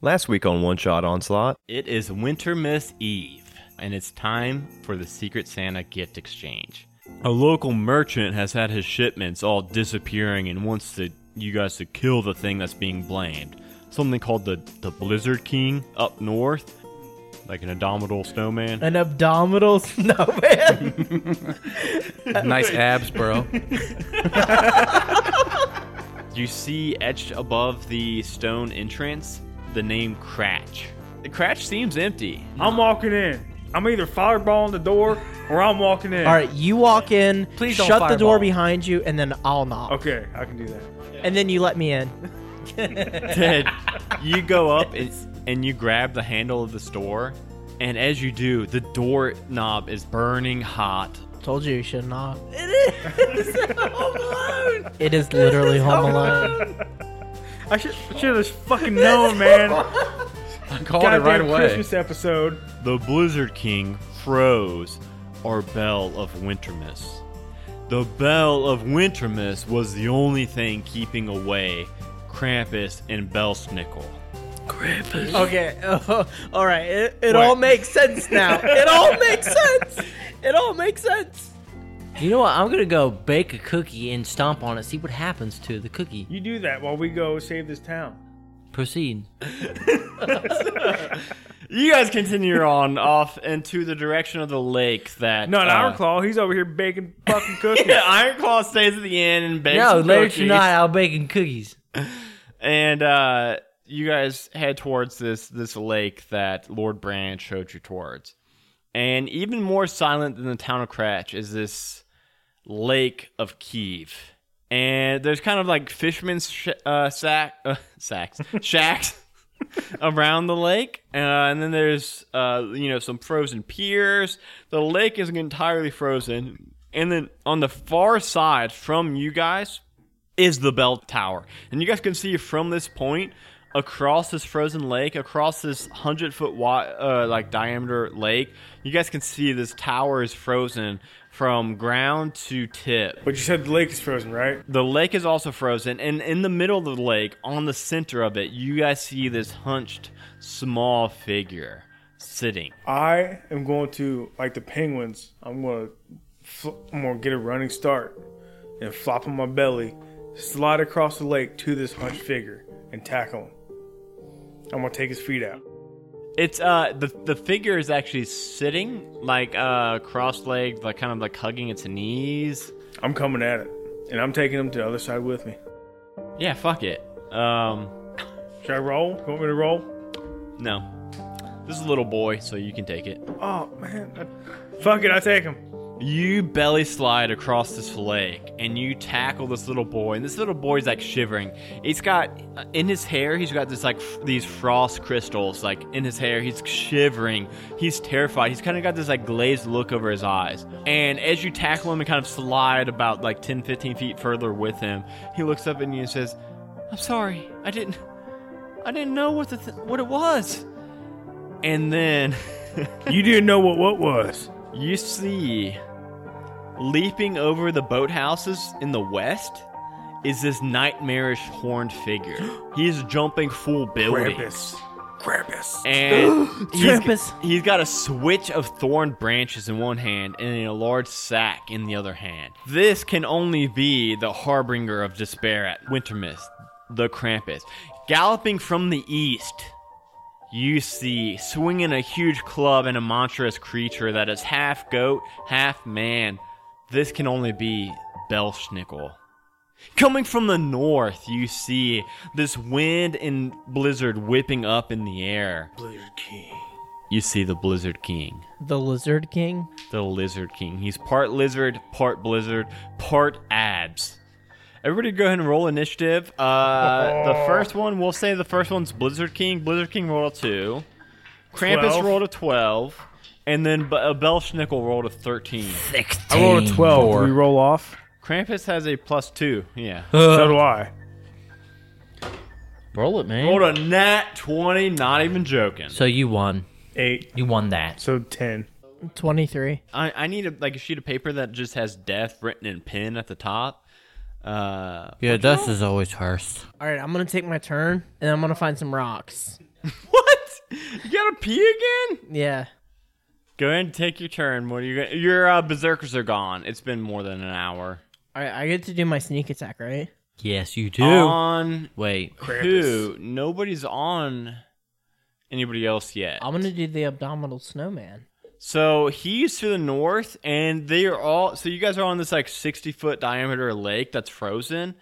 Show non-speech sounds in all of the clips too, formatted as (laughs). Last week on One Shot Onslaught, It is Wintermas Eve, and it's time for the Secret Santa gift exchange. A local merchant has had his shipments all disappearing and wants to, you guys to kill the thing that's being blamed. Something called the, the Blizzard King up north, like an abominable snowman. An abdominal (laughs) snowman. (laughs) Nice abs, bro. You see etched above the stone entrance the name Cratch. The Cratch seems empty. I'm walking in. I'm either fireballing the door or I'm walking in. All right, you walk in. Please don't shut the door fireball. behind you, and then I'll knock. Okay, I can do that. And then you let me in. Ted, you go up and, and you grab the handle of the door, and as you do, the door knob is burning hot. Told you you should not. It is Home Alone. It is (laughs) literally Home Alone. (laughs) I should should have fucking known, man. I called it Goddamn right away. Christmas episode. The Blizzard King froze our Bell of Wintermas. The Bell of Wintermas was the only thing keeping away Krampus and Belsnickel. Okay. (laughs) all right. It, it all makes sense now. It all (laughs) makes sense. It all makes sense. You know what? I'm gonna go bake a cookie and stomp on it. See what happens to the cookie. You do that while we go save this town. Proceed. You guys (laughs) continue on off into the direction of the lake that No, uh, not (laughs) Ironclaw. He's over here baking fucking cookies. Yeah, Ironclaw stays at the inn and bakes No, some later cookies. tonight I'll baking cookies. and uh, you guys head towards this this lake that Lord Brand showed you towards. And even more silent than the town of Cratch is this lake of Kiev. And there's kind of like fishermen's sh- uh, sack uh, (laughs) sacks shacks (laughs) around the lake, uh, and then there's uh, you know some frozen piers. The lake isn't entirely frozen, and then on the far side from you guys is the bell tower. And you guys can see from this point across this frozen lake, across this 100 foot wide uh, like diameter lake, you guys can see this tower is frozen from ground to tip. But you said the lake is frozen, right? The lake is also frozen and in the middle of the lake, on the center of it, you guys see this hunched small figure sitting. I am going to like the penguins. I'm gonna, fl- I'm gonna get a running start and flop on my belly, slide across the lake to this hunched figure and tackle him. I'm gonna take his feet out. It's uh the the figure is actually sitting like uh cross-legged like kind of like hugging its knees. I'm coming at it, and I'm taking him to the other side with me. Yeah, fuck it. Um Should I roll? You want me to roll? No. This is a little boy, so you can take it. Oh man, I- fuck it, I take him. You belly slide across this lake and you tackle this little boy. And this little boy's like shivering. He's got uh, in his hair, he's got this like f- these frost crystals like in his hair. He's shivering. He's terrified. He's kind of got this like glazed look over his eyes. And as you tackle him and kind of slide about like 10, 15 feet further with him, he looks up at you and says, "I'm sorry. I didn't I didn't know what the th- what it was." And then (laughs) You didn't know what what was. you see leaping over the boathouses in the west is this nightmarish horned figure. He's jumping full buildings. Krampus. Krampus. And he's, Krampus. he's got a switch of thorn branches in one hand and a large sack in the other hand. This can only be the harbinger of despair at Wintermist, the Krampus. Galloping from the east, you see swinging a huge club and a monstrous creature that is half goat, half man. This can only be Belschnickel. Coming from the north, you see this wind and blizzard whipping up in the air. Blizzard King. You see the Blizzard King. The Lizard King. The Lizard King. He's part lizard, part blizzard, part abs. Everybody go ahead and roll initiative. Uh, the first one, we'll say the first one's Blizzard King. Blizzard King rolled a 2. Krampus Twelve. rolled a 12. And then B- uh, Belschnickel rolled a 13. I rolled a twelve. Did we roll off? Krampus has a plus 2. Yeah. So do I. Roll it, man. rolled a nat 20, not even joking. So you won. Eight. You won that. So ten. 23. I, I need a, like a sheet of paper that just has death written in pen at the top. Uh, Yeah, death is always first. All right, I'm going to take my turn, and I'm going to find some rocks. You gotta pee again? Yeah. Go ahead and take your turn. What are you gonna? Your uh, berserkers are gone. It's been more than an hour. All right, I get to do my sneak attack, right? Yes, you do. On Wait. who? Nobody's on anybody else yet. I'm gonna do the abdominal snowman. So he's to the north, and they are all. So you guys are on this like sixty foot diameter lake that's frozen.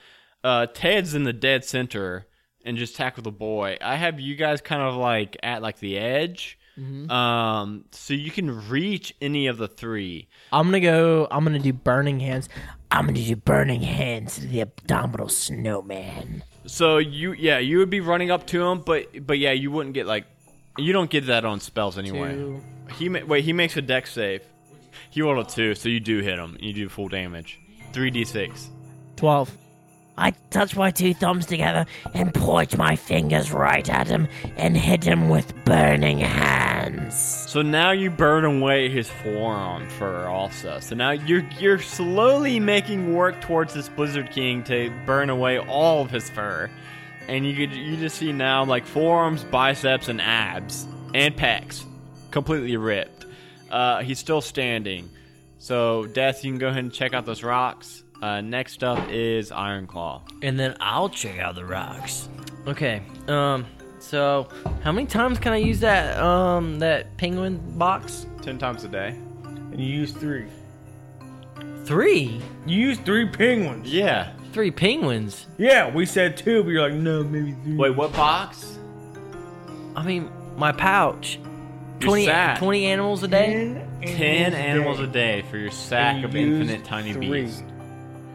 Uh, Ted's in the dead center and just tackle the boy. I have you guys kind of like at like the edge, Mm-hmm. um, so you can reach any of the three. I'm gonna go. I'm gonna do burning hands. I'm gonna do burning hands to the abdominal snowman. So you, yeah, you would be running up to him, but but yeah, you wouldn't get like, you don't get that on spells anyway. Two. He ma- wait, he makes a deck save. He rolled a two, so you do hit him. You do full damage, three d six. Twelve. I touch my two thumbs together and point my fingers right at him and hit him with burning hands. So now you burn away his forearm fur also. So now you're you're slowly making work towards this Blizzard King to burn away all of his fur. And you could you just see now like forearms, biceps, and abs. And pecs. Completely ripped. Uh, he's still standing. So Death, you can go ahead and check out those rocks. Uh, next up is Iron Claw. And then I'll check out the rocks. Okay. Um. So, how many times can I use that um that penguin box? Ten times a day. And you use three. Three. You use three penguins. Yeah. Three penguins. Yeah, we said two, but you're like, no, maybe three. Wait, what box? I mean, my pouch. Your 20, sack. 20 animals a day. Ten animals a day for your sack You of used infinite tiny three. beasts.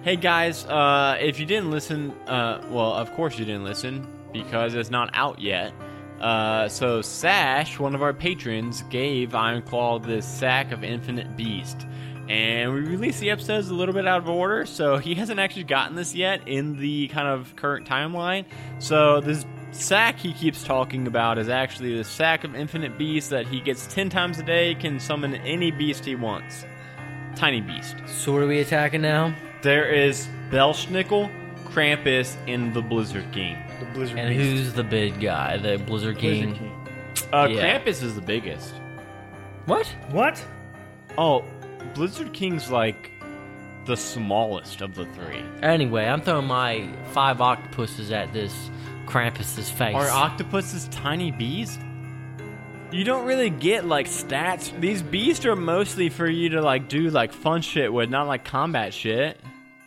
Hey guys, uh, if you didn't listen, uh, well, of course you didn't listen because it's not out yet. Uh, so Sash, one of our patrons, gave Ironclaw this sack of infinite beast, and we released the episodes a little bit out of order, so (laughs) he hasn't actually gotten this yet in the kind of current timeline. So this sack he keeps talking about is actually the sack of infinite beast that he gets ten times a day, can summon any beast he wants, tiny beast. So what are we attacking now? There is Belschnickel, Krampus, and the Blizzard King. The blizzard. And beast. who's the big guy? The Blizzard King. Blizzard king. Uh, Yeah. Krampus is the biggest. What? What? Oh, Blizzard King's like the smallest of the three. Anyway, I'm throwing my five octopuses at this Krampus's face. Are octopuses tiny beasts? You don't really get like stats. These beasts are mostly for you to like do like fun shit with, not like combat shit.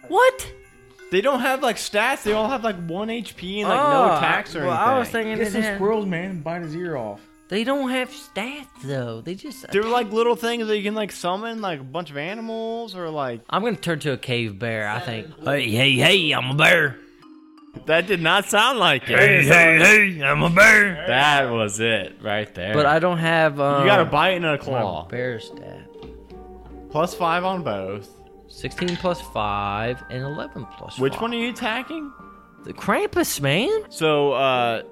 what? They don't have like stats. They all have like one HP and like no Oh, attacks or well, anything. I was thinking Get it some had- squirrels, man, and bite his ear off. they don't have stats though. They just They're like little things that you can like summon like a bunch of animals or like I'm gonna turn to a cave bear. I think. Hey, hey, hey, I'm a bear. That did not sound like it. hey, hey, I'm a bear. That was it right there. But I don't have. Um, you got a bite and a my claw. bear stat. Plus five on both. 16 plus five and 11 plus. Which five. one are you attacking? The Krampus man. So, uh,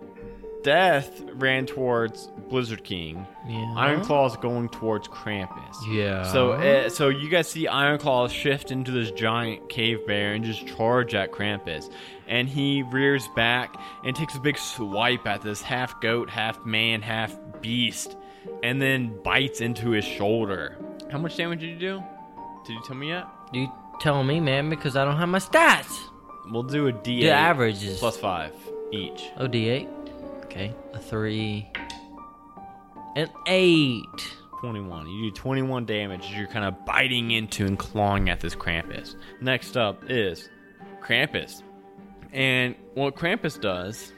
Death ran towards Blizzard King. Yeah. Iron Claw's going towards Krampus. Yeah. So, uh, so you guys see Iron Claw shift into this giant cave bear and just charge at Krampus, and he rears back and takes a big swipe at this half goat, half man, half beast, and then bites into his shoulder. How much damage did you do? Did you tell me yet? You tell me, man, because I don't have my stats. We'll do a D. The average is plus five each. Oh, D8. Okay, a three, an eight. 21. You do 21 damage as you're kind of biting into and clawing at this Krampus. Next up is Krampus. And what Krampus does,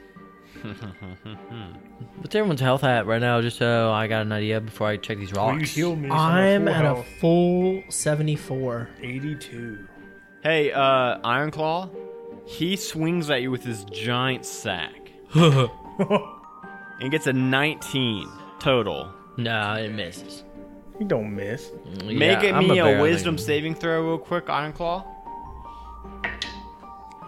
What's everyone's health at right now? Just so I got an idea before I check these Well, you rocks. healed me. so I'm full at a health. full 74. 82. hey, uh, Iron Claw, he swings at you with his giant (laughs) sack and gets a 19 total. no, it misses. You don't miss. Make Yeah, it I'm me a, bear, I wisdom think. saving throw, real quick, Iron Claw.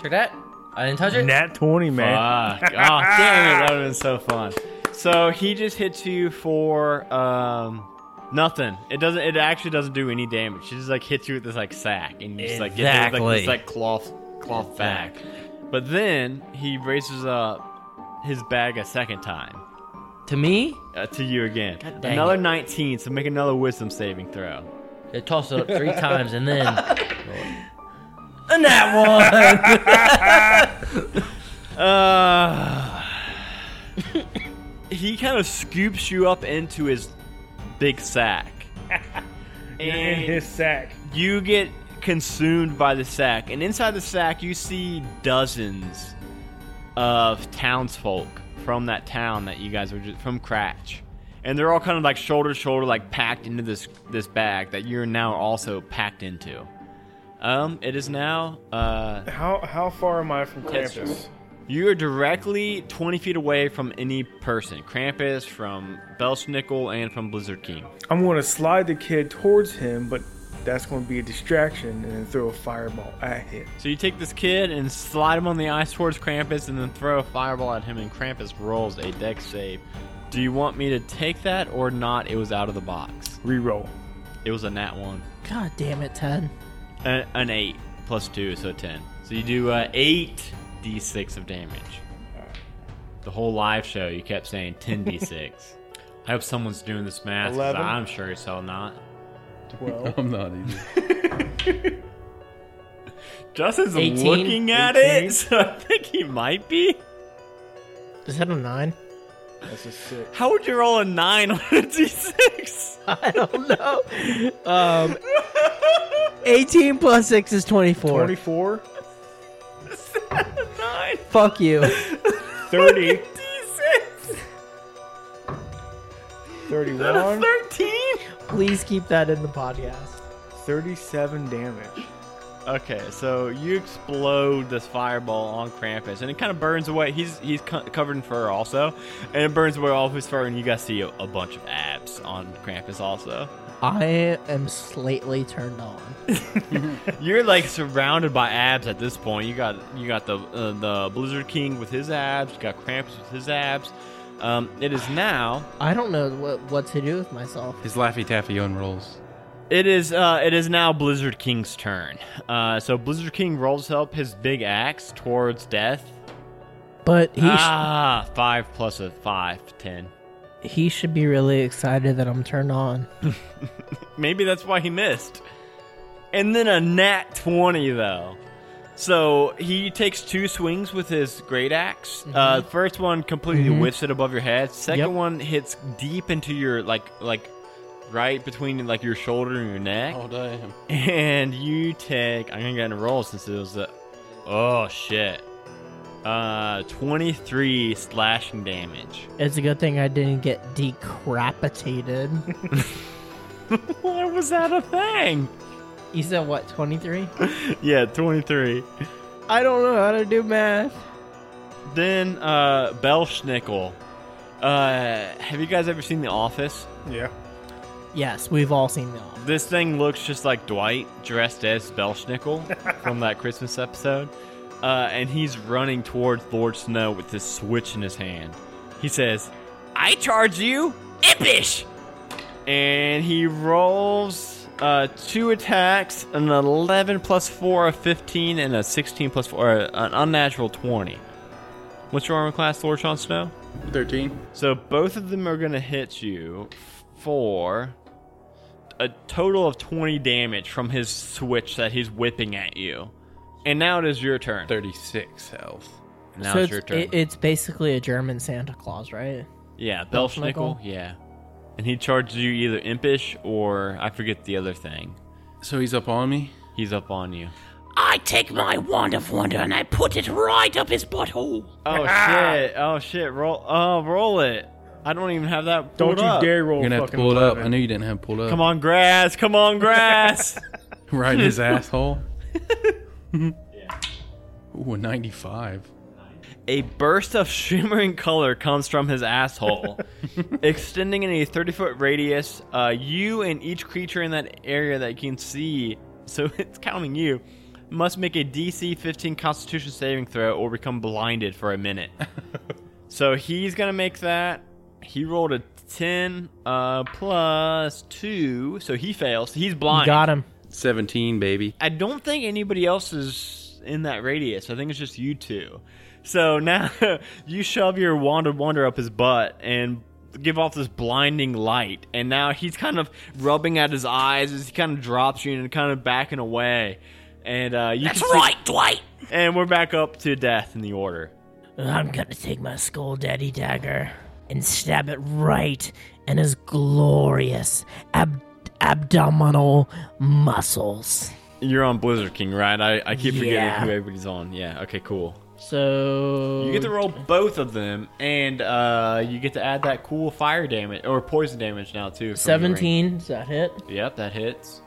Check that. I didn't touch it. Nat 20, man. Fuck. Oh, damn it. That would have been so fun. So he just hits you for um nothing. It doesn't it actually doesn't do any damage. She just like hits you with this like sack and you just like get this, like, Exactly. this, like cloth cloth back. But then he raises up his bag a second time To me, Uh, to you again. God dang Another it. 19, so make another wisdom saving throw. they toss it (laughs) up three times and then. And that one! Uh, (laughs) he kind of scoops you up into his big sack. in and his sack. you get consumed by the sack. And inside the sack, you see dozens of townsfolk from that town that you guys were just from Cratch. And they're all kind of like shoulder to shoulder, like packed into this this bag that you're now also packed into. Um, it is now uh How how far am I from Krampus? you are directly 20 feet away from any person Krampus, from Belschnickel, and from Blizzard King. I'm gonna slide the kid towards him, but that's gonna be a distraction, and then throw a fireball at him. So you take this kid and slide him on the ice towards Krampus and then throw a fireball at him, and Krampus rolls a deck save. Do you want me to take that or not? It was out of the box. Reroll. It was a nat one. God damn it, Ted. An, Uh, an 8 plus 2, so 10. So you do uh, 8 d6 of damage. The whole live show, you kept saying 10 d6. I hope someone's doing this math. 'cause 11. I'm sure it's all not. Twelve. (laughs) I'm not either. (laughs) Justin's 18? looking at 18? it, so I think he might be. Is that a nine? that's a six. How would you roll a 9 on a d6? (laughs) I don't know. Um, 18 plus 6 is 24. Twenty-four. 9 (laughs) Fuck you. Thirty. d6? Thirty-one. 13? (laughs) Please keep that in the podcast. Thirty-seven damage. Okay, so you explode this fireball on Krampus, and it kind of burns away. He's he's co- covered in fur also, and it burns away all of his fur, and you guys see a, a bunch of abs on Krampus also. I am slightly turned on. You're like surrounded by abs at this point. You got you got the uh, the Blizzard King with his abs. You got Krampus with his abs. Um, it is now. I don't know what, what to do with myself. His Laffy Taffy unrolls. It is uh, it is now Blizzard King's turn. Uh, so Blizzard King rolls up his big axe towards death. But he, ah, five plus a five, ten. sh- he should be really excited that I'm turned on. Maybe that's why he missed. And then a nat 20, though. So he takes two swings with his great ax Uh, the first one completely whiffs it above your head. Second Yep. one hits deep into your like like right between like your shoulder and your neck. damn. And you take. I'm gonna get a roll since it was a. Oh shit. Uh, 23 slashing damage. It's a good thing I didn't get (laughs) decapitated. (laughs) Why was that a thing? you said what, 23? Yeah, 23. I don't know how to do math. Then uh, Belschnickel. Uh, have you guys ever seen The Office? Yeah. Yes, we've all seen the office. This thing looks just like Dwight dressed as Belschnickel from that Christmas episode. Uh, and he's running towards Lord Snow with this switch in his hand. He says, I charge you impish! And he rolls uh, two attacks an 11 plus 4, a 15, and a 16 plus 4, or an unnatural 20. What's your armor class, Lord Sean Snow? 13. So both of them are going to hit you for a total of 20 damage from his switch that he's whipping at you. And now it is your turn. 36 health. Now so it's your turn. it- it's basically a German Santa Claus, right? yeah, Belschnickel. Belschnickel. Yeah. And he charges you either impish or I forget the other thing. So he's up on me. He's up on you. I take my wand of wonder and I put it right up his butthole. Oh (laughs) shit. Oh shit. Roll oh roll it. I don't even have that. Don't pulled you up. dare roll. You're gonna have to fucking pull it up. 11. I knew you didn't have it pulled up. Come on grass. Come on (laughs) grass. (laughs) Right in his asshole. Ooh, a 95. A burst of shimmering color comes from his asshole, extending in a 30 foot radius. Uh, you and each creature in that area that you can see, so (laughs) it's counting you, must make a DC 15 Constitution saving throw or become blinded for a minute. so he's going to make that. He rolled a 10 uh, plus 2, so he fails. He's blind. Got him. 17, baby. I don't think anybody else is in that radius. I think it's (laughs) just you two. So now you shove your wand of wonder up his butt, and give off this blinding light, and now he's kind of rubbing at his eyes as he kind of drops you and kind of backing away. And uh, you That's can see- right, Dwight. and we're back up to death in the order. I'm gonna take my skull daddy dagger and stab it right in his glorious ab- abdominal muscles. You're on Blizzard King, right? I, I keep forgetting Yeah. who everybody's on. Yeah. Okay. Cool. So You get to roll both of them, and uh, you get to add that cool fire damage or poison damage now too. from your ring. seventeen. Does that hit? Yep, that hits.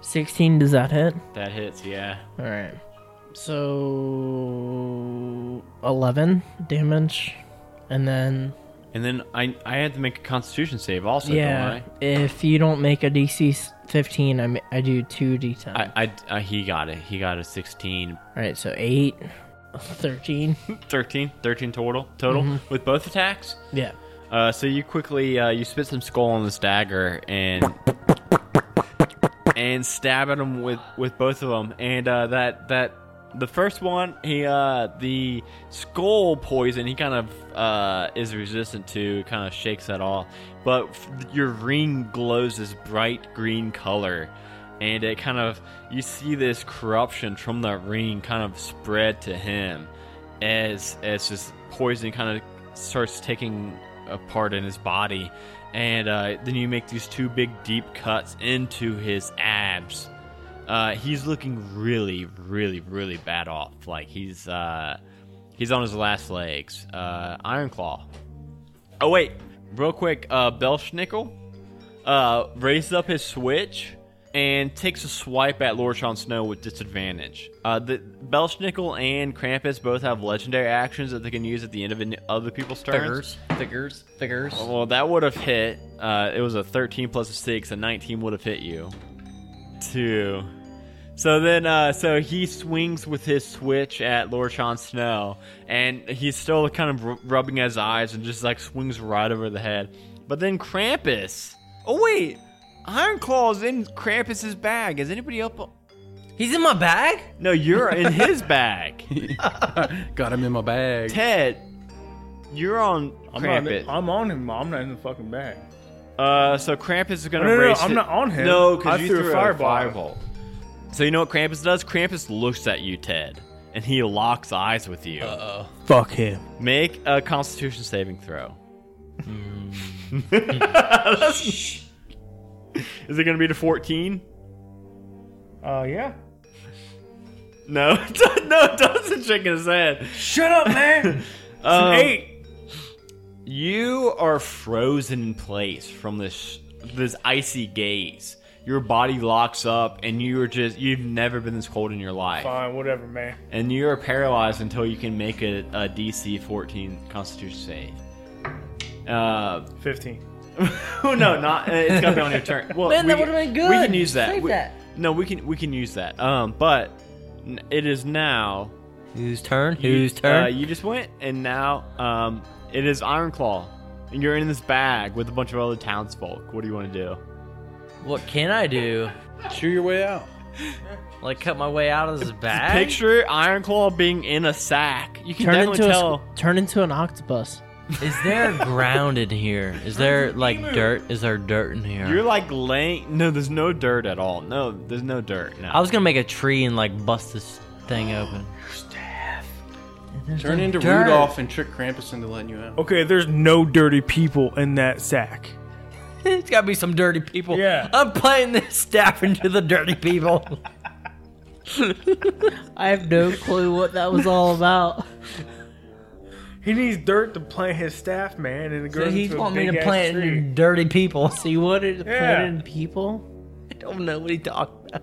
Sixteen. Does that hit? That hits. Yeah. All right. So eleven damage, and then And then I I had to make a Constitution save also. yeah, Don't if you don't make a DC fifteen, I ma- I do two D10. I? All I, I, I he got it. He got a 16, right, so (laughs) eight. 13 13, 13 total total with both attacks. yeah Uh, so you quickly uh, you spit some skull on this dagger and and stab at him with with both of them. And uh, that that the first one he uh, the skull poison he kind of uh, is resistant to, kind of shakes that off. But f- your ring glows this bright green color. And it kind of, you see this corruption from that ring kind of spread to him as as this poison kind of starts taking a part in his body, and uh, then you make these two big deep cuts into his abs. Uh, he's looking really, really, really bad off. Like he's uh, he's on his last legs. Uh, Iron Claw. Oh wait, real quick, uh, Belschnickel uh, raises up his switch and takes a swipe at Lord Sean Snow with disadvantage. Uh, the Belschnickel and Krampus both have legendary actions that they can use at the end of an- other people's turns. figures figures figures Well, that would have hit. Uh, it was a 13 plus a 6, a 19 would have hit you. Two. So then, uh, so he swings with his switch at Lord Sean Snow, and he's still kind of r- rubbing his eyes and just like swings right over the head. But then Krampus. Oh, wait. Iron Claw is in Krampus's bag. Is anybody up? he's in my bag No, you're in his bag. (laughs) Got him in my bag. Ted, you're on I'm, not, Krampus. I'm on him. I'm not in the fucking bag. Uh, so Krampus is gonna No, no, no, race. I'm it- not on him. No, because I you threw threw, a a fireball. fireball. So you know what Krampus does? Krampus looks at you, Ted, and he locks eyes with you. Fuck him. Make a Constitution saving throw. Hmm. (laughs) (laughs) is it gonna be to 14? Uh, yeah. No, (laughs) no, Dawson shaking his head. Shut up, (laughs) man. Um, Eight. You are frozen in place from this this icy gaze. Your body locks up, and you are just you've never been this cold in your life. Fine, whatever, man. and you are paralyzed until you can make a, a DC 14 Constitution save. Uh, (laughs) Fifteen. oh no, not uh, it's gotta be on your turn. Well, Man, we that can- would've been We good. can use that. Save We- that. No, we can we can use that. Um, but n- it is now. whose turn you- Uh, you just went, and now um, it is Ironclaw, and you're in this bag with a bunch of other townsfolk. What do you want to do? what can i do Chew your way out. like cut my way out of this bag Picture Ironclaw being in a sack. You can Turn definitely into, a, tell. squ- turn into an octopus. Is (laughs) there ground in here? Is there like dirt? Is there dirt in here? You're like laying. No, there's no dirt at all. No, there's no dirt. No. I was gonna make a tree and like bust this thing open. (laughs) Turn into dirt. Rudolph and trick Krampus into letting you out. Okay, there's no dirty people in that sack. it's gotta be some dirty people. Yeah. I'm playing this staff into the (laughs) dirty people. I have no clue what that was all (laughs) about. He needs dirt to plant his staff, man, and it grows So he into a want me to big-ass plant tree. it into dirty people. (laughs) See what it Yeah. put in people? I don't know what he talking about.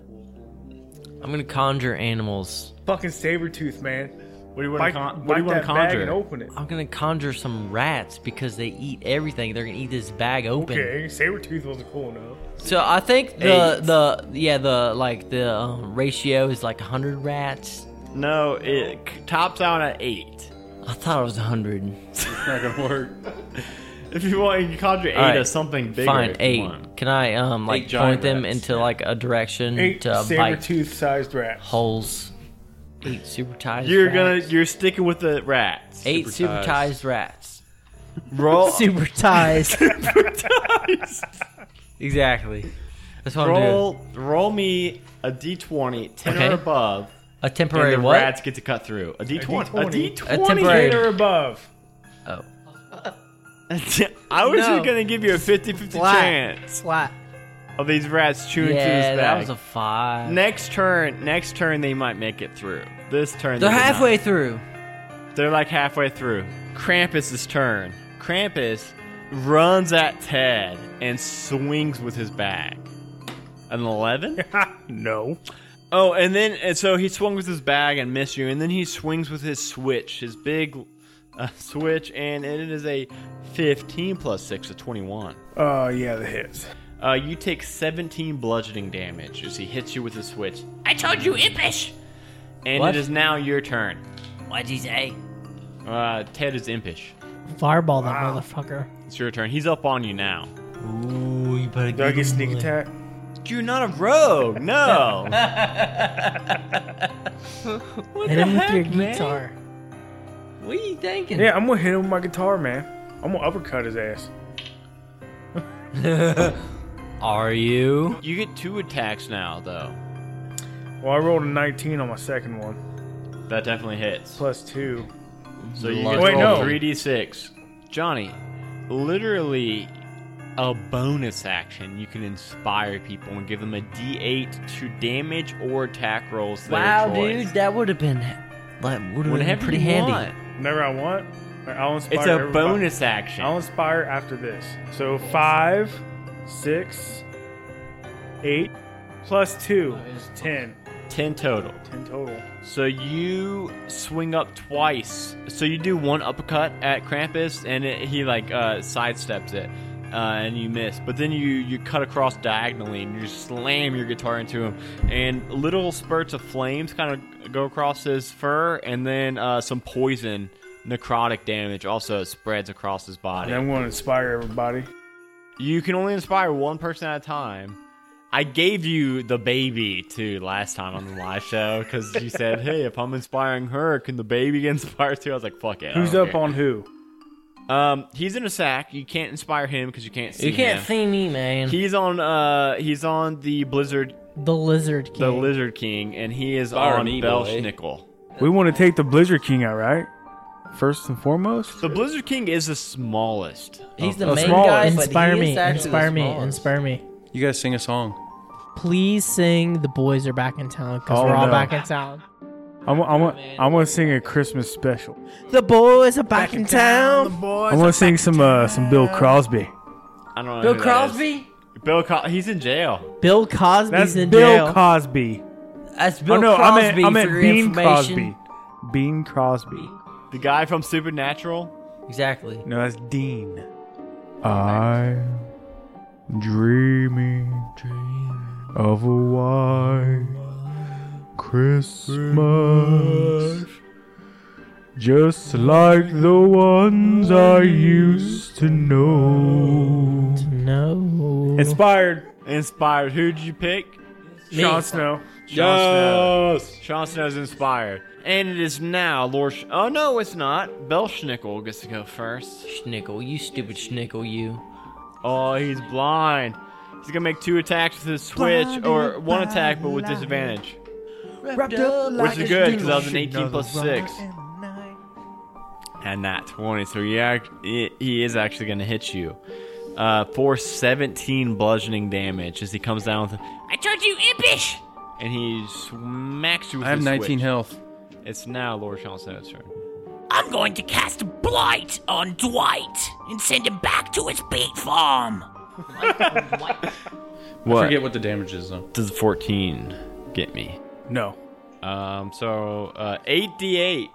I'm gonna conjure animals. Fucking saber tooth, man. What do you want Bite, to con- bite what do you want that to bag conjure? and open it. I'm gonna conjure some rats because they eat everything. They're gonna eat this bag open. Okay, saber tooth wasn't cool enough. So I think the the yeah the like the uh, ratio is like 100 rats. No, it c- tops out at eight. I thought it was 100. It's not gonna work. If you want, you can conjure eight right. or something bigger. Fine, if you eight. want. Can I um like Eight point giant them rats, into like a direction Eight to saber bite tooth sized rats. holes? Eight super ties. You're gonna, you're sticking with the rats. eight Super super ties. ties rats. Roll (laughs) (laughs) Super ties. (laughs) Exactly. That's what I'm doing. roll roll me a d20 10 Okay. or above A and temporary the what? rats get to cut through. A d20. A D20. d20. A Eight (laughs) temporary. or above. Oh. I was No. just going to give you a 50-50 chance Flat. of these rats chewing through Yeah, this that bag. was a five. next turn, next turn they might make it through. This turn They're they did not. halfway through. They're like halfway through. Krampus's turn. Krampus runs at Ted and swings with his bag. An 11? No. oh, and then and so he swung with his bag and missed you, and then he swings with his switch, his big uh, switch, and it is a 15 plus 6, a 21. Uh, yeah, the hits. Uh, you take 17 bludgeoning damage as he hits you with his switch. I told you impish. And What? it is now your turn. What'd he say? Uh, Ted is impish. Fireball that motherfucker. It's your turn. He's up on you now. Ooh, you better Do I get sneak attack? You're not a rogue. No. Hit him with your guitar. What are you thinking? Yeah, I'm gonna hit him with my guitar, man. I'm gonna uppercut his ass. Are you? you get two attacks now, though. Well, I rolled a 19 on my second one, That definitely hits. plus two. So you Blood. get Wait, no. three d six. Johnny, literally a bonus action. You can inspire people and give them a d eight to damage or attack rolls. to Wow, their choice. dude, that would have been like would have been Whatever pretty you handy. want. Whenever I want, like, I'll inspire. It's a everybody. bonus action. I'll inspire after this. So five, six, eight, plus two is ten. Ten total. Ten total. So you swing up twice. So you do one uppercut at Krampus, and it, he like uh, sidesteps it, uh, and you miss. But then you you cut across diagonally, and you slam your guitar into him, and little spurts of flames kind of go across his fur, and then uh, some poison, necrotic damage also spreads across his body. And I'm gonna inspire everybody. You can only inspire one person at a time. I gave you the baby too last time on the live show because you said, "Hey, if I'm inspiring her, can the baby get inspired too?" I was like, "Fuck it." I Who's don't up on who? care. Um, he's in a sack. You can't inspire him because you can't see. You can't him. see me, man. He's on. Uh, he's on the blizzard, The lizard king. the lizard king, and he is Fire on me, boy. Belschnickel. We want to take the Blizzard King out, right? First and foremost. The blizzard king is the smallest. He's the Oh, main small. guy, but inspire he is me. actually Inspire the me. smallest. Inspire me. You guys sing a song. Please sing "The Boys Are Back in Town" because Oh, we're all no. back in town. I'm, I'm, I'm gonna sing a Christmas special. The boys are back, in town. I'm gonna sing some uh, some Bill Crosby. I don't know. who Bill that is. Crosby? Bill Cro- He's in jail. Bill Cosby's That's in Bill jail. (laughs) Cosby. That's Bill oh no, Crosby I meant, I meant for your Bean information. Crosby. Bean Crosby. The guy from Supernatural. Exactly. No, that's Dean. I'm dreaming of a white Christmas, just like the ones I used to know. No. Inspired, Inspired. Who did you pick? Jon Snow. Jon Snow. Jon Snow's inspired. And it is now Lord. Sh- oh, no, it's not. Belschnickel gets to go first. Schnickel, you stupid schnickel, you. Oh, he's blind. He's going to make two attacks with his switch, or one attack, but with disadvantage. Which is good, because that was an 18 plus 6. And that 20, so he, act- he he is actually going to hit you. Uh, for 17 bludgeoning damage as he comes down with I told you, impish! And he smacks you with I have his 19 switch. health. It's now Lord Sean Snow's turn. I'm going to cast blight on Dwight and send him back to his beet (laughs) farm. I What forget what the damage is though. (laughs) does 14 get me? No. Um, so uh, 8d8.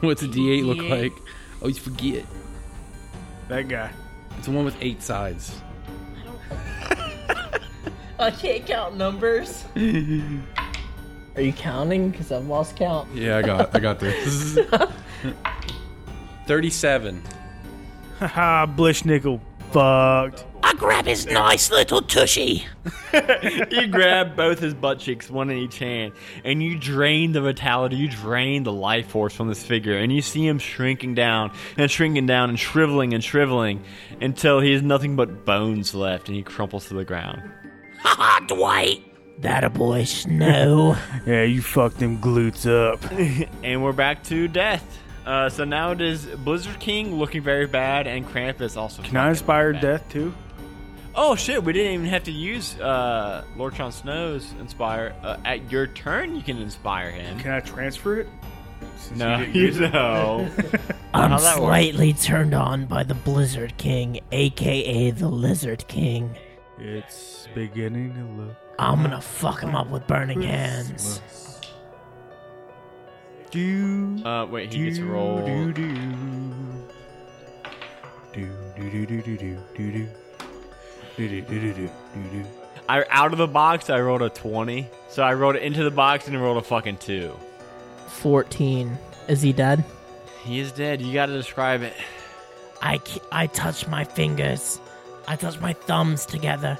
What's a D8 look like? Oh, you forget. That guy. (laughs) It's the one with eight sides. I can't count numbers. (laughs) Are you counting? Because I've lost count. Yeah, I got, I (laughs) got (laughs) this. 37. Haha, Blishnickel. Fucked. I I grab his nice little tushy. you grab both his butt cheeks, one in each hand, and you drain the vitality, you drain the life force from this figure, and you see him shrinking down and shrinking down and shriveling and shriveling until he has nothing but bones left and he crumples to the ground. Ha ha, Ah, Dwight. That a boy, Snow. Yeah, you fucked them glutes up. And we're back to death. Uh, so now it is Blizzard King looking very bad, and Krampus also. Can I inspire death too? Oh shit! We didn't even have to use uh, Lord Sean Snow's inspire. Uh, at your turn, you can inspire him. Can I transfer it? Since No, you didn't you use it. know. I'm that work? slightly turned on by the Blizzard King, aka the Lizard King. It's beginning to look. I'm gonna fuck him up with burning hands. Do uh, wait, he gets a roll. do do do do do do do do do do do do do do. I out of the box. I rolled a twenty, so I rolled it into the box and rolled a fucking two. 14. Is he dead? He is dead. You got to describe it. I, ki- I touch my fingers. I touch my thumbs together.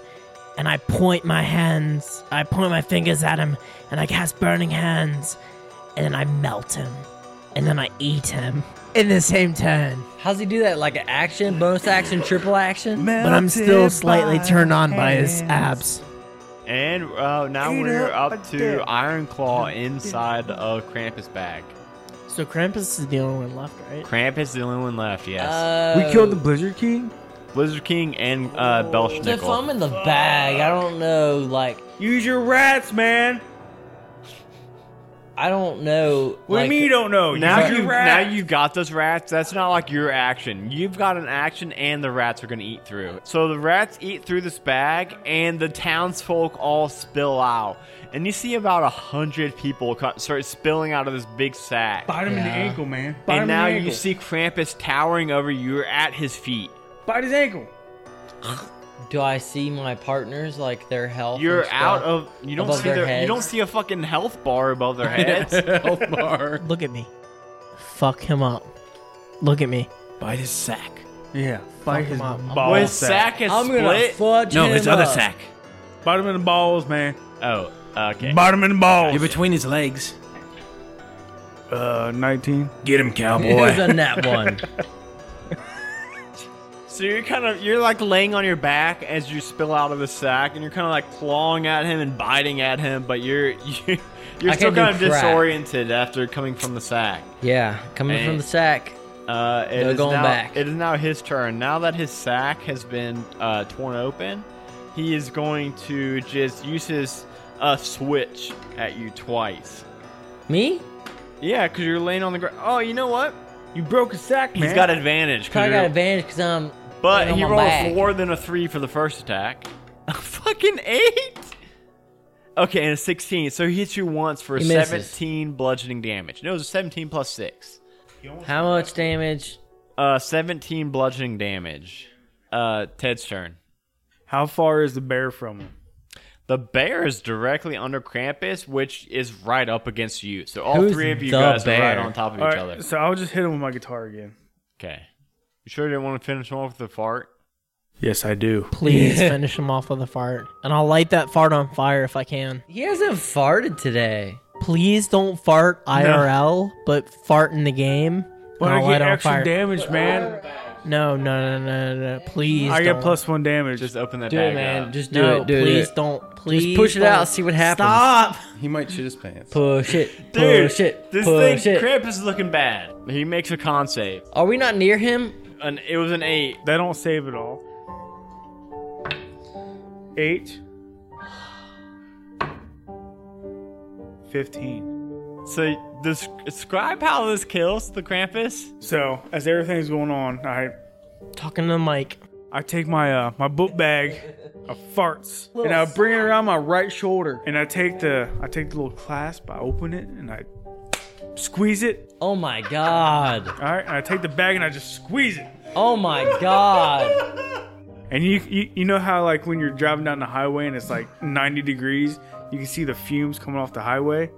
And I point my hands. I point my fingers at him. And I cast burning hands. And then I melt him. And then I eat him. In the same turn. How's he do that? Like an action, bonus action, triple action? But I'm still slightly turned on by his abs. And uh, now we're up to Iron Claw inside of Krampus' bag. So Krampus is the only one left, right? Krampus is the only one left. Yes. Uh, We killed the Blizzard King. Blizzard King and uh, If Belschnickel. I'm in the bag, I don't know. Like, Use your rats, man. I don't know. What do like, you mean you don't know? Now Use your you now rats. you got those rats. That's not like your action. You've got an action, and the rats are gonna eat through. So the rats eat through this bag, and the townsfolk all spill out. And you see about a hundred people co- start spilling out of this big sack. bite him in the Yeah. ankle, man. Bite him And now in the ankle. you see Krampus towering over you. You're at his feet. bite his ankle. Do I see my partners like their health? and You're stuff? out of you don't Above see their their, you heads. don't see a fucking health bar above (laughs) their heads. Health bar. Look at me. Fuck him up. Look at me. By his sack. Yeah, bite his him up. ball Well, his sack. sack is I'm gonna split. fudge him up. Bite him in the balls, man. Oh, okay. Bite him in the balls. You're between his legs. uh, nineteen. Get him, It cowboy. was a net one. So you're kind of you're like laying on your back as you spill out of the sack, and you're kind of like clawing at him and biting at him, but you're (laughs) you, you're I still can't do kind of crap. disoriented after coming from the sack. yeah, coming Man. from the sack. Uh, it No is going now, back. It is now his turn. Now that his sack has been uh, torn open, he is going to just use his uh, switch at you twice. Me? Yeah, because you're laying on the ground. Oh, you know what? You broke his sack, man. He's got advantage. 'cause I got you're- advantage um, because I'm. But laying on he my rolls back. more than a three for the first attack. (laughs) A fucking eight. Okay, and a sixteen. So he hits you once for He misses. seventeen bludgeoning damage. No, it was seventeen plus six. How much damage? Uh, seventeen bludgeoning damage. Uh, Ted's turn. (laughs) How far is the bear from him? The bear is directly under Krampus, which is right up against you. So all Who's three of you the guys are right bear? on top of All each right, other. so I'll just hit him with my guitar again. Okay. You sure didn't want to finish him off with a fart? Yes, I do. Please finish him off with a fart. And I'll light that fart on fire if I can. He hasn't farted today. Please don't fart IRL, but fart in the game. But and I'll I light get it on extra fire. damage, man. No, no, no, no, no, no. Please. I don't. get plus one damage. Just open that Do bag it, man. up. Just do No, it. Do please it. don't. Please. push it out, don't. see what happens. Stop. he might shit his pants. Push it. Dude, Push it. this push thing, it. Krampus is looking bad. He makes a con save. Are we not near him? An, it was an eight. they don't save it all. Eight. Fifteen. So des- describe how this kills the Krampus. So as everything's going on, I Talking to the mic. I take my uh, my book bag of farts and I bring it around my right shoulder and I take the I take the little clasp, I open it and I squeeze it. Oh my god. All right, and I take the bag and I just squeeze it. Oh my god. And you, you you know how like when you're driving down the highway and it's like 90 degrees, you can see the fumes coming off the highway.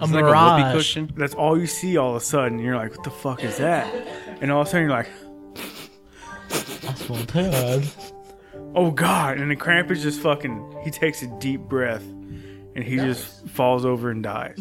A It's like a whoopee mirage. cushion. That's all you see all of a sudden. You're like, what the fuck is that? And all of a sudden you're like, That's one time. oh God. And the Krampus just fucking, he takes a deep breath and he just falls over and dies.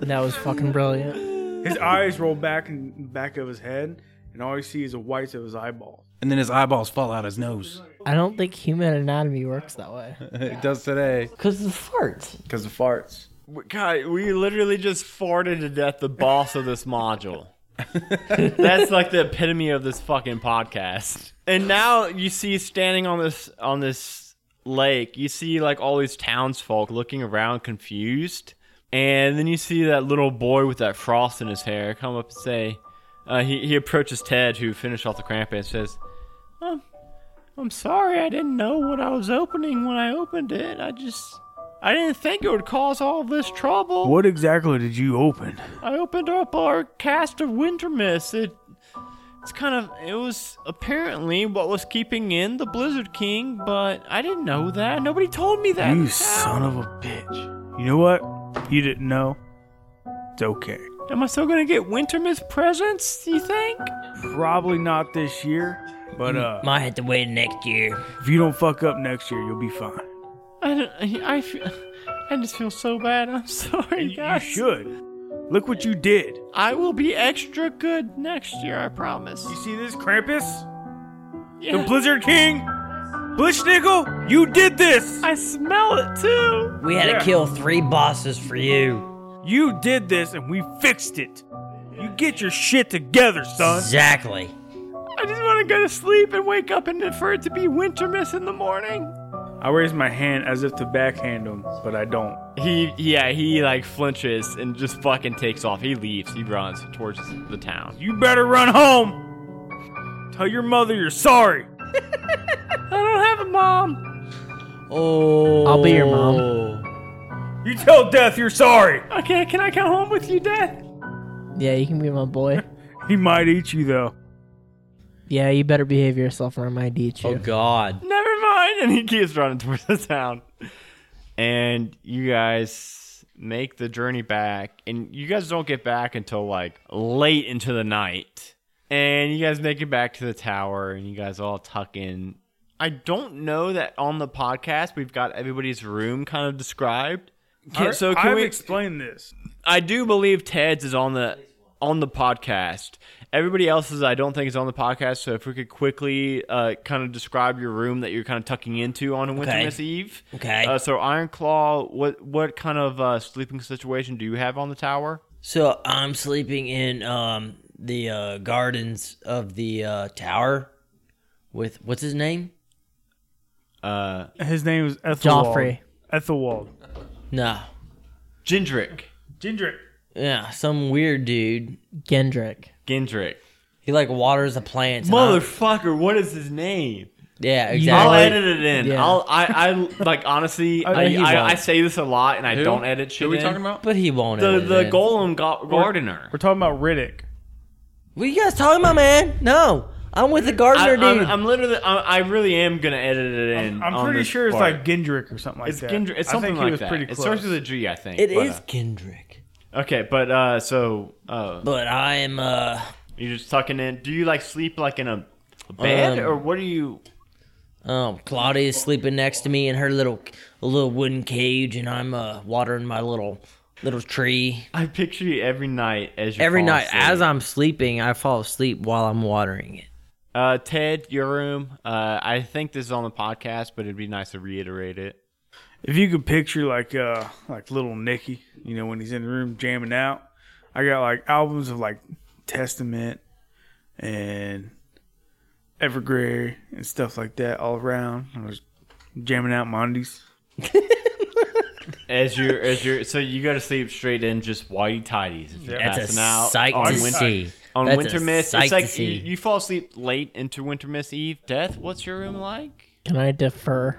That was fucking brilliant. His eyes roll back in the back of his head and all you see is the whites of his eyeballs. And then his eyeballs fall out his nose. I don't think human anatomy works that way. it does today. Because the farts. Because of farts. God, we literally just farted to death the boss of this module. (laughs) That's like the epitome of this fucking podcast. And now you see standing on this on this lake, you see like all these townsfolk looking around confused. And then you see that little boy with that frost in his hair come up and say, uh, he, he approaches Ted, who finished off the cramp, and says, um, I'm sorry, I didn't know what I was opening when I opened it. I just, I didn't think it would cause all this trouble. What exactly did you open? I opened up our cast of Winter Mist. It, it's kind of it was apparently what was keeping in the Blizzard King, but I didn't know that. Nobody told me that. You son of a bitch. You know what? You didn't know. It's okay. Am I still gonna get Winter Mist presents? You think? Probably not this year, but uh, Might have to wait next year. if you don't fuck up next year, you'll be fine. I don't. I, I feel. I just feel so bad. I'm (laughs) sorry, You guys. should. Look what you did. I will be extra good next year. I promise. You see this, Krampus? The Yeah. Blizzard King? Blitschnickel, you did this! I smell it too. We had Yeah. to kill three bosses for you. You did this and we fixed it. You get your shit together, son. Exactly. I just want to go to sleep and wake up and for it to be Winter Mist in the morning. I raise my hand as if to backhand him, but I don't. He yeah, he like flinches and just fucking takes off. He leaves. He runs towards the town. You better run home! Tell your mother you're sorry! (laughs) I don't have a mom. Oh. I'll be your mom. You tell death you're sorry! Okay, can I come home with you, Dad? Yeah, you can be my boy. He might eat you though. Yeah, you better behave yourself or I might eat you. Oh God. Never mind. And he keeps running towards the town. And you guys make the journey back, and you guys don't get back until like late into the night. And you guys make it back to the tower, and you guys all tuck in. I don't know that on the podcast we've got everybody's room kind of described. Can- so can I've we explained this. I do believe Ted's is on the on the podcast. Everybody else's I don't think is on the podcast. So if we could quickly uh, kind of describe your room that you're kind of tucking into on a Winter Okay. Miss Eve. Okay. Uh, so Iron Claw, what what kind of uh, sleeping situation do you have on the tower? So I'm sleeping in um the uh, gardens of the uh, tower with what's his name? Uh, His name is Ethelwald. Joffrey. Ethelwald. No. Gindrick. Gendrick. Yeah, some weird dude. Gendrick. Gindrick. He like waters the plants. and I'm- Motherfucker, what is his name? Yeah, I'll exactly. edit it in. Yeah. I'll I, I like honestly I, he I, won't. I say this a lot and I Who? don't edit shit. Who are we in. talking about? But he won't. The edit the it. golem go- gardener. We're talking about Riddick. What are you guys talking about, man? No, I'm with the I, gardener am dude. literally, I, I really am gonna edit it in. I'm on pretty this sure it's part. like Gendrick or something like it's that. Gendry, it's I something think like he was that. pretty close. It starts with a G, I think. it but, is Kendrick. uh, okay, but uh, so uh, But I am uh, you're just tucking in. Do you like sleep like in a a bed Um, or what do you? um, Claudia is sleeping next to me in her little little wooden cage, and I'm uh watering my little little tree. I picture you every night as you Every fall night, asleep. as I'm sleeping, I fall asleep while I'm watering it. uh, Ted, your room. Uh, I think this is on the podcast, but it'd be nice to reiterate it. If you could picture like uh like little Nicky, you know, when he's in the room jamming out. I got like albums of like Testament and Evergrey and stuff like that all around. I was jamming out Mondays. As you're, as you're, so you go to sleep straight in just whitey tidies. If you're That's passing a out sight on to winter- see. on That's Winter a Mist. sight It's to like you, see. you fall asleep late into Winter Mist Eve. Death, what's your room like? Can I defer?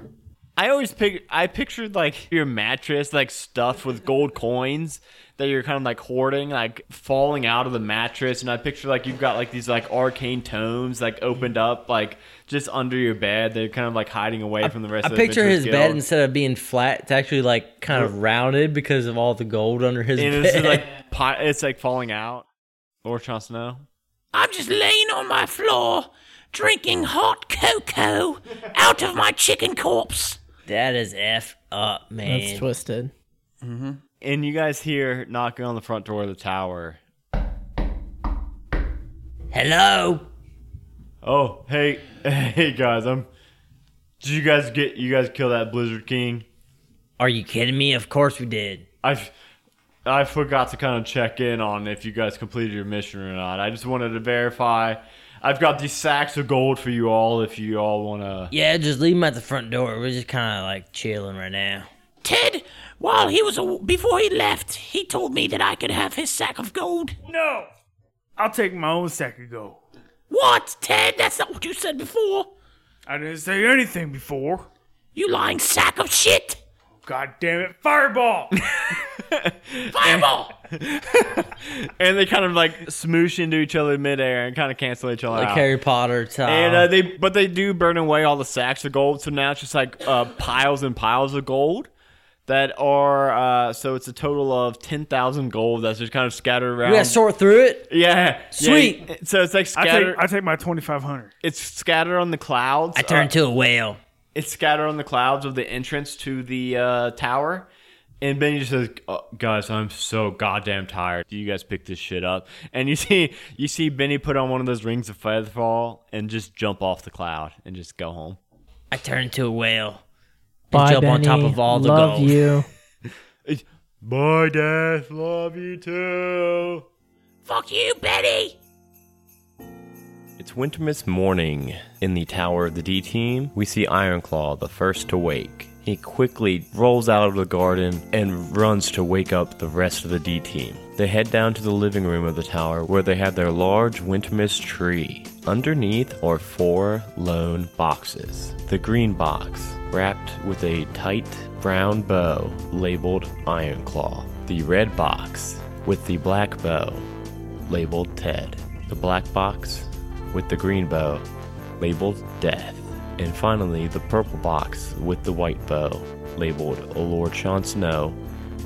I always pic- I pictured like your mattress like stuffed with gold coins that you're kind of like hoarding, like falling out of the mattress, and I picture like you've got like these like arcane tomes like opened up like just under your bed. They're kind of like hiding away from the rest. I of the picture Adventurers his bed Guild. instead of being flat, it's actually like kind of rounded because of all the gold under (laughs) his and bed. (laughs) it's just, like pot- it's like falling out. Lord Jon Snow. I'm just laying on my floor, drinking hot cocoa out of my chicken corpse. That is f up, man. That's twisted. And you guys hear knocking on the front door of the tower. Hello. Oh, hey, (laughs) hey guys, I'm. Did you guys get? You guys kill that Blizzard King? Are you kidding me? Of course we did. I, f- I forgot to kind of check in on if you guys completed your mission or not. I just wanted to verify. I've got these sacks of gold for you all if you all want to. Yeah, just leave him at the front door. We're just kind of like chilling right now. Ted, while he was aw- before he left, he told me that I could have his sack of gold. No, I'll take my own sack of gold. What, Ted? That's not what you said before. I didn't say anything before. You lying sack of shit. God damn it, (laughs) fireball! Fireball. And they kind of like smoosh into each other midair and kind of cancel each other Like out. Harry Potter time. And uh, they, but they do burn away all the sacks of gold. So now it's just like uh, piles and piles of gold that are. Uh, so it's a total of ten thousand gold that's just kind of scattered around. we gotta sort through it. yeah, yeah. Sweet. So it's like I scattered. take, I take my 2500. it's scattered on the clouds. uh, I turned to a whale. it's scattered on the clouds of the entrance to the uh, tower. And Benny just says, oh, "Guys, I'm so goddamn tired. Do you guys pick this shit up?" And you (laughs) see, you see Benny put on one of those rings of featherfall and just jump off the cloud and just go home. I turned to a whale. Bye, jump on Benny. top of all the Love gold. (laughs) you. Bye, Death. Love you too. Fuck you, Betty. It's Wintermist morning. In the tower of the D team, we see Ironclaw, the first to wake. He quickly rolls out of the garden and runs to wake up the rest of the D team. They head down to the living room of the tower where they have their large Wintermist tree. Underneath are four lone boxes. The green box, wrapped with a tight brown bow labeled Ironclaw. The red box, with the black bow labeled Ted. The black box with the green bow labeled Death. And finally, the purple box with the white bow labeled Lord Sean Snow,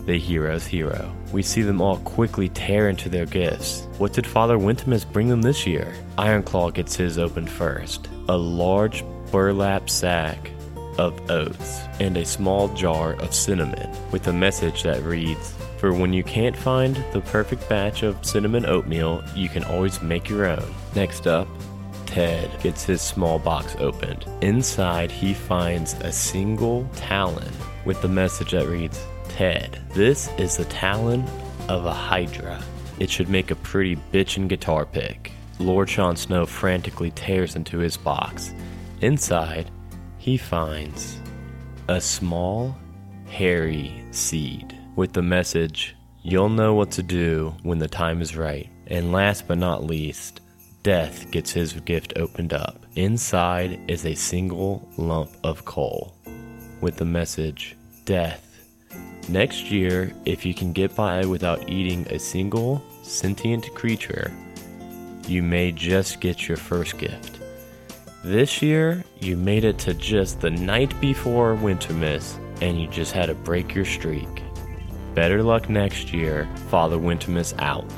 the hero's hero. We see them all quickly tear into their gifts. What did Father Wintimus bring them this year? Ironclaw gets his open first a large burlap sack of oats and a small jar of cinnamon with a message that reads For when you can't find the perfect batch of cinnamon oatmeal, you can always make your own. Next up, Ted gets his small box opened. Inside, he finds a single talon with the message that reads Ted, this is the talon of a Hydra. It should make a pretty bitchin' guitar pick. Lord Sean Snow frantically tears into his box. Inside, he finds a small, hairy seed with the message, You'll know what to do when the time is right. And last but not least, Death gets his gift opened up. Inside is a single lump of coal with the message, Death, Next year, if you can get by without eating a single sentient creature, you may just get your first gift. This year, you made it to just the night before Wintermiss, and you just had to break your streak. Better luck next year, Father Wintermiss out.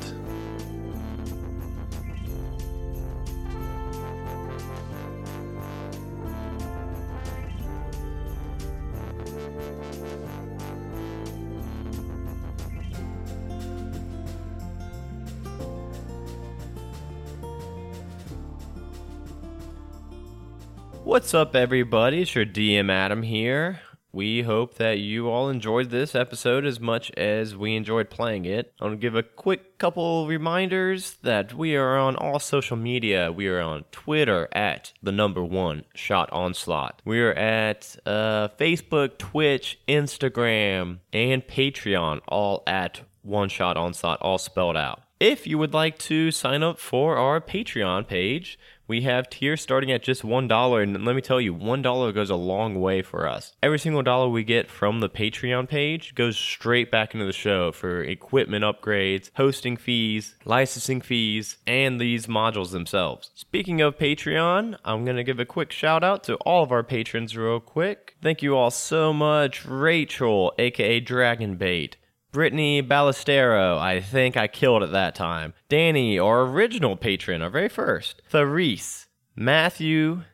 What's up, everybody? It's your DM Adam here. We hope that you all enjoyed this episode as much as we enjoyed playing it. I want to give a quick couple reminders that we are on all social media. We are on Twitter at the number one shot onslaught. We are at uh, Facebook, Twitch, Instagram, and Patreon, all at one shot onslaught, all spelled out. If you would like to sign up for our Patreon page, we have tiers starting at just $1. And let me tell you, $1 goes a long way for us. Every single dollar we get from the Patreon page goes straight back into the show for equipment upgrades, hosting fees, licensing fees, and these modules themselves. Speaking of Patreon, I'm going to give a quick shout out to all of our patrons, real quick. Thank you all so much. Rachel, aka Dragonbait. Brittany Ballestero, I think I killed it that time. Danny, our original patron, our very first. Therese, Matthew,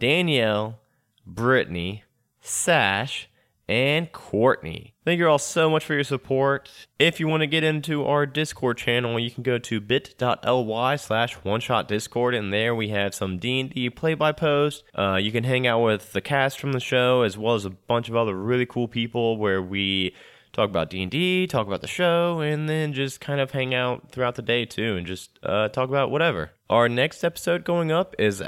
Danielle, Brittany, Sash, and Courtney. Thank you all so much for your support. If you want to get into our Discord channel, you can go to bit.ly slash one shot discord and there we have some D&D play-by-post. Uh, you can hang out with the cast from the show as well as a bunch of other really cool people where we talk about D&D, talk about the show, and then just kind of hang out throughout the day too and just uh, talk about whatever. Our next episode going up is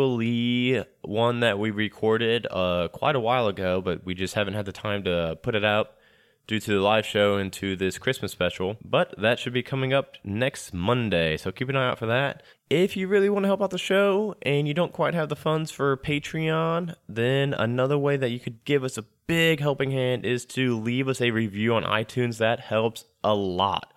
actually one that we recorded uh, quite a while ago, but we just haven't had the time to put it out due to the live show and to this Christmas special. But that should be coming up next Monday, so keep an eye out for that. If you really want to help out the show and you don't quite have the funds for Patreon, then another way that you could give us a big helping hand is to leave us a review on iTunes. That helps a lot.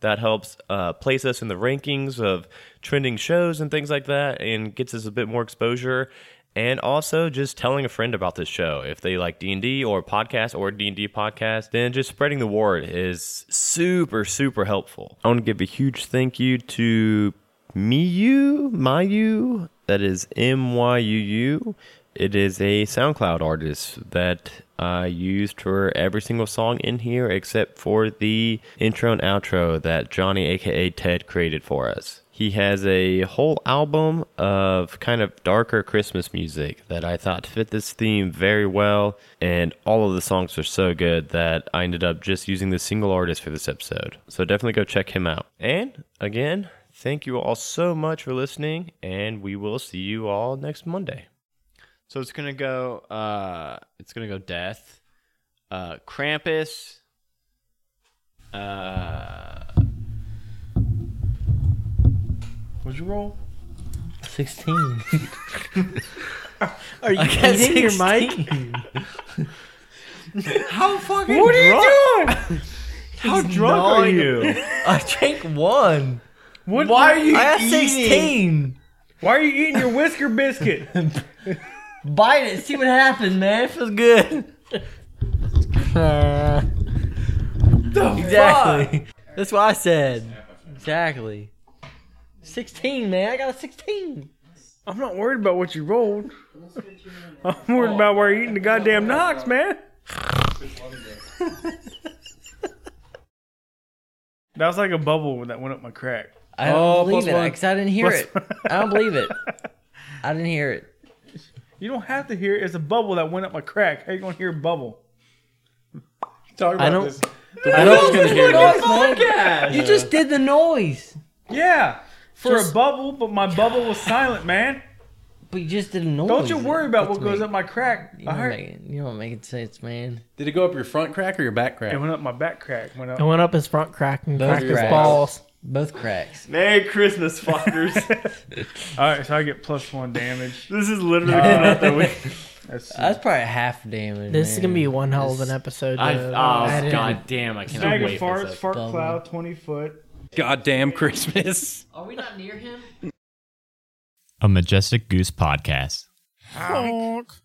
That helps uh, place us in the rankings of trending shows and things like that and gets us a bit more exposure and also just telling a friend about this show if they like d&d or podcast or d&d podcast then just spreading the word is super super helpful i want to give a huge thank you to miyu mayu that is m-y-u-u it is a soundcloud artist that i used for every single song in here except for the intro and outro that johnny aka ted created for us he has a whole album of kind of darker Christmas music that I thought fit this theme very well, and all of the songs are so good that I ended up just using the single artist for this episode. So definitely go check him out. And again, thank you all so much for listening, and we will see you all next Monday. So it's gonna go. Uh, it's gonna go death. Uh, Krampus. Uh, What'd you roll? (laughs) 16. Are you I got hitting your mic? 16. How fucking What are you doing? How drunk are gnawing. you? I drank one. What, why are you? I have eating? 16. Why are you eating your whisker biscuit? (laughs) Bite it. See what happens, man. It feels good. (laughs) exactly. That's what I said. Exactly. 16, man. I got a 16. I'm not worried about what you rolled. I'm worried about where you're eating the goddamn knocks, man. (laughs) that was like a bubble that went up my crack. I don't Oh, believe plus it one. because I didn't hear Plus it. I don't (laughs) believe it. I didn't hear it. You don't have to hear it. It's a bubble that went up my crack. How you gonna hear a bubble? (laughs) Talk about I don't. this. I don't gonna hear noise, man. You just did the noise, Yeah, for Just- a bubble, but my bubble was silent, man. but you just did a noise. Don't you worry about what That's goes me. up my crack. You I don't, heard make it, you don't make it sense, man. Did it go up your front crack or your back it crack? went up my back crack. Went I up. went up his front crack and Those cracked his cracks. balls. Both cracks. Merry Christmas, fuckers. All right, so I get plus one damage. this is literally not (laughs) the week. That's, That's probably half damage. This is man. gonna be one hell of an episode. I, to oh add in. god damn! I bag cannot of wait for farts, this. fart bubble. cloud, twenty foot. Goddamn Christmas. (laughs) Are we not near him? A Majestic Goose podcast. Honk.